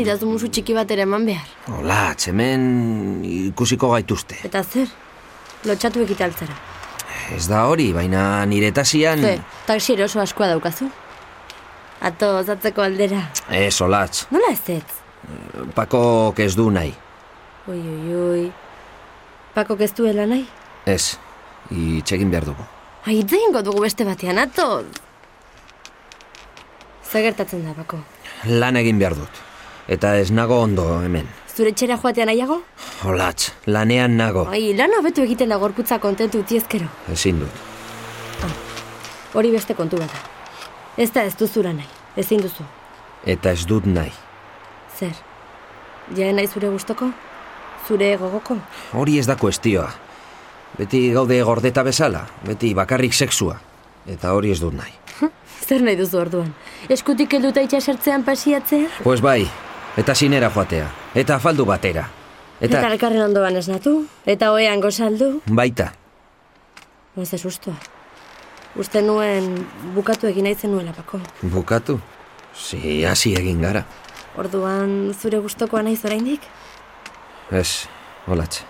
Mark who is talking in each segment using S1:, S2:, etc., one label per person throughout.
S1: idazu musu txiki batera eman behar.
S2: Hola, hemen ikusiko gaituzte.
S1: Eta zer? Lotxatu ekitaltzara.
S2: Ez da hori, baina nire tasian...
S1: Ze, taxi oso askoa daukazu. Ato, zatzeko aldera.
S2: Ez, olatz.
S1: Nola ez ez?
S2: Pakok ez du nahi.
S1: Ui, ui, ui. Pakok ez duela nahi?
S2: Ez, itxegin behar dugu.
S1: Aitze ingo dugu beste batean, ato. Zagertatzen da, bako.
S2: Lan egin behar dut. Eta ez nago ondo hemen.
S1: Zure txera joatean nahiago?
S2: Olatz, lanean nago.
S1: Ai, lan hobetu egiten da gorputza kontentu utiezkero.
S2: Ezin dut.
S1: Hori beste kontu bat da. Ez da ez duzura nahi, ezin duzu.
S2: Eta ez dut nahi.
S1: Zer? Jae nahi zure gustoko? Zure gogoko?
S2: Hori ez da kuestioa. Beti gaude gordeta bezala, beti bakarrik sexua. Eta hori ez dut nahi.
S1: Zer nahi duzu orduan? Eskutik helduta itxasertzean pasiatzea?
S2: Pues bai, eta sinera joatea, eta afaldu batera.
S1: Eta,
S2: Eta
S1: elkarren ondoan esnatu, eta oean gozaldu.
S2: baita,
S1: Ez ez ustua. Uste nuen bukatu egin nahi zenuela bako.
S2: bukatu. Si, hasi egin gara.
S1: Orduan zure gustokoa naiz oraindik?
S2: Ez, olatz.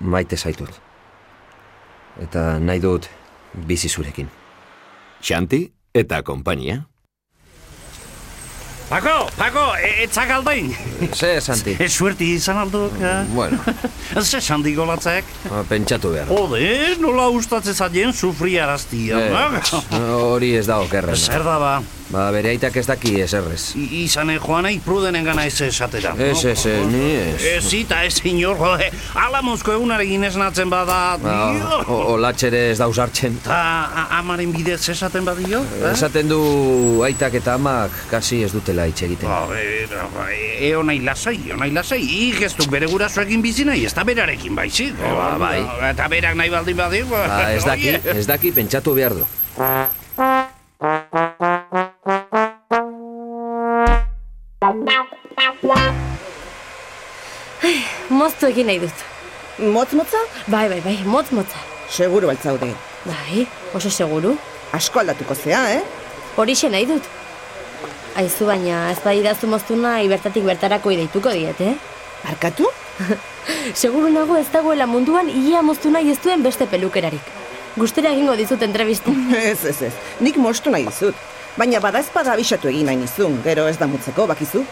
S2: Maite zaitut. Eta nahi dut bizi zurekin.
S3: Xanti eta konpainia.
S4: Pako, Pako, e, etzak aldain.
S2: Ze, Santi?
S4: Ez suerti izan alduk, ha?
S2: bueno, ba,
S4: Ez esan digolatzek.
S2: pentsatu behar.
S4: Oh,
S2: da.
S4: Ode, nola ustatzen zaien sufri araztia.
S2: Ez, Hori ez da okerren.
S4: Eh. Zer da ba,
S2: Ba, bere aitak ez daki ezerrez.
S4: I- izanen joan nahi prudenen gana ez esatera.
S2: Ez, ez, ez, ni ez.
S4: Ez eta ez inor, joe, ala mozko egunarekin esnatzen bada,
S2: Ba,
S4: dio.
S2: o- Olatxere ez da usartzen.
S4: Ta a- amaren bidez esaten badio? eh?
S2: Esaten du aitak eta amak kasi ez dutela hitz egiten.
S4: Ba, e, ba, e, e, onai lasai, onai lasai, ik ez duk bere gurasoekin bizi nahi, ez da berarekin baizik.
S2: ba, bai.
S4: Eta berak nahi baldin badik.
S2: Ba, ez daki, ez daki pentsatu behar du.
S1: Moztu egin nahi dut.
S5: Motz motza?
S1: Bai, bai, bai, motz motza.
S5: Seguru altzaude.
S1: Bai, oso seguru.
S5: Asko aldatuko zea, eh?
S1: Horixe nahi dut. Aizu baina, ez badidazu moztuna bertatik bertarako ideituko diet, eh?
S5: Barkatu?
S1: Seguru nago ez dagoela munduan ia moztu nahi ez duen beste pelukerarik. Gustera egingo dizut entrevista.
S5: Ez, ez, ez. Nik mostu nahi dizut. Baina bada espada abisatu egin nahi nizun, gero ez da mutzeko, bakizu.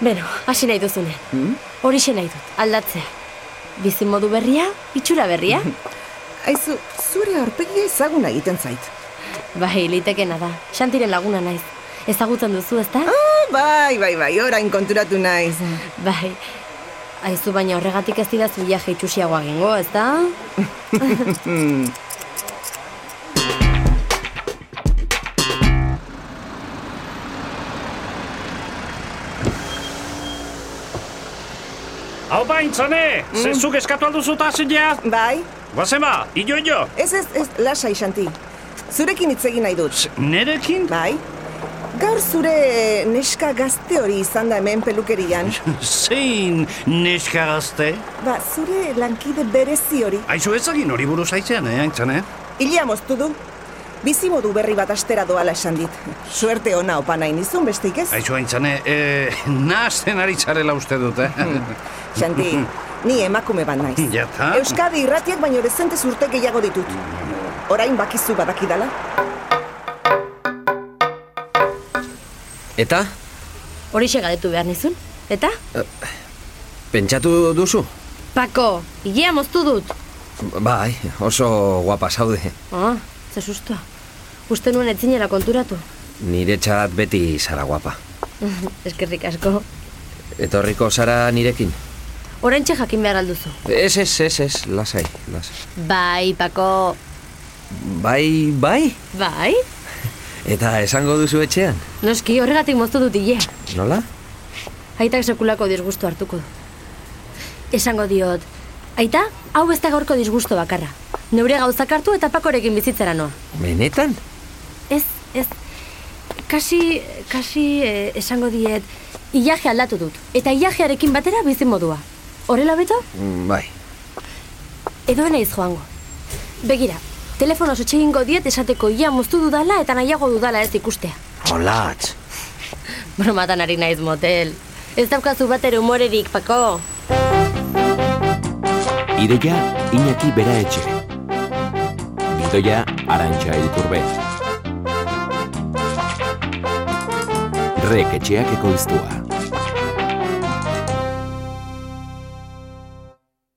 S1: Beno, hasi nahi duzunean. Horixe nahi dut, aldatzea. Bizimodu berria, itxura berria.
S5: Aizu, zure aurpegia ezaguna egiten zait.
S1: bai, litekena da. Xantiren laguna naiz. Ezagutzen duzu, ezta?
S5: Ah, bai, bai, bai, orain konturatu naiz.
S1: Bai. Aizu baina horregatik ez didazu viaje itxusiagoa egingo, ezta?
S4: Hau bai, bain, zane, zezuk eskatu alduzu eta zilea.
S5: Bai,
S4: Guazen ba, ilo, ilo.
S5: ez ez, ez, lasai, Xanti. Zurekin hitz egin nahi dut.
S4: Nerekin?
S5: Bai? Gaur zure eh, neska gazte hori izan da hemen pelukerian.
S4: Zein neska gazte?
S5: Ba, zure lankide berezi hori.
S4: Aizu ezagin hori buruz aizean, eh, aintzane?
S5: Ilia moztu du. Bizimodu berri bat astera doala esan dit. Suerte ona opa nahi nizun besteik ez.
S4: Aizu aintzane, eh, nahazten ari zarela uste dut, eh?
S2: Hmm.
S5: Xanti, ni emakume bat naiz.
S4: Ja ta. Mm.
S5: Euskadi irratiak baino dezentes urte gehiago ditut. Orain bakizu badakidala.
S2: Eta,
S1: Horixe galdetu behar nizun. Eta?
S2: pentsatu duzu?
S1: Pako, ilea moztu dut.
S2: Bai, oso guapa zaude.
S1: Ah, ze sustua. Uste nuen etzinela konturatu.
S2: Niretzat beti zara guapa.
S1: Eskerrik asko.
S2: Etorriko zara nirekin?
S1: Oraintxe jakin behar alduzu.
S2: Ez, ez, ez, ez, lasai, lasai.
S1: Bai, Pako.
S2: Bai, bai,
S1: Bai?
S2: eta esango duzu etxean,
S1: Noski, horregatik moztu dut ilea.
S2: nola?
S1: Aitak sekulako disgustu hartuko du. Esango diot, aita, hau ez da gaurko disgusto bakarra. Neure gauzak hartu eta pakorekin bizitzera noa.
S2: Benetan?
S1: Ez, ez, kasi, kasi eh, esango diet, ilaje aldatu dut. Eta ilajearekin batera bizimodua. Horrela beto,
S2: Mm, Bai,
S1: edo naiz joango. Begira, telefonoz etxegingo diet esateko ia moztu dudala eta nahiago dudala ez ikustea.
S2: olatz.
S1: Bromatan ari naiz motel. Ez daukazu bat ere humorerik, Pako.
S3: Ideia Iñaki Bera Etxe. Bidoia Arantxa Iturbe. Rek etxeak ekoiztua.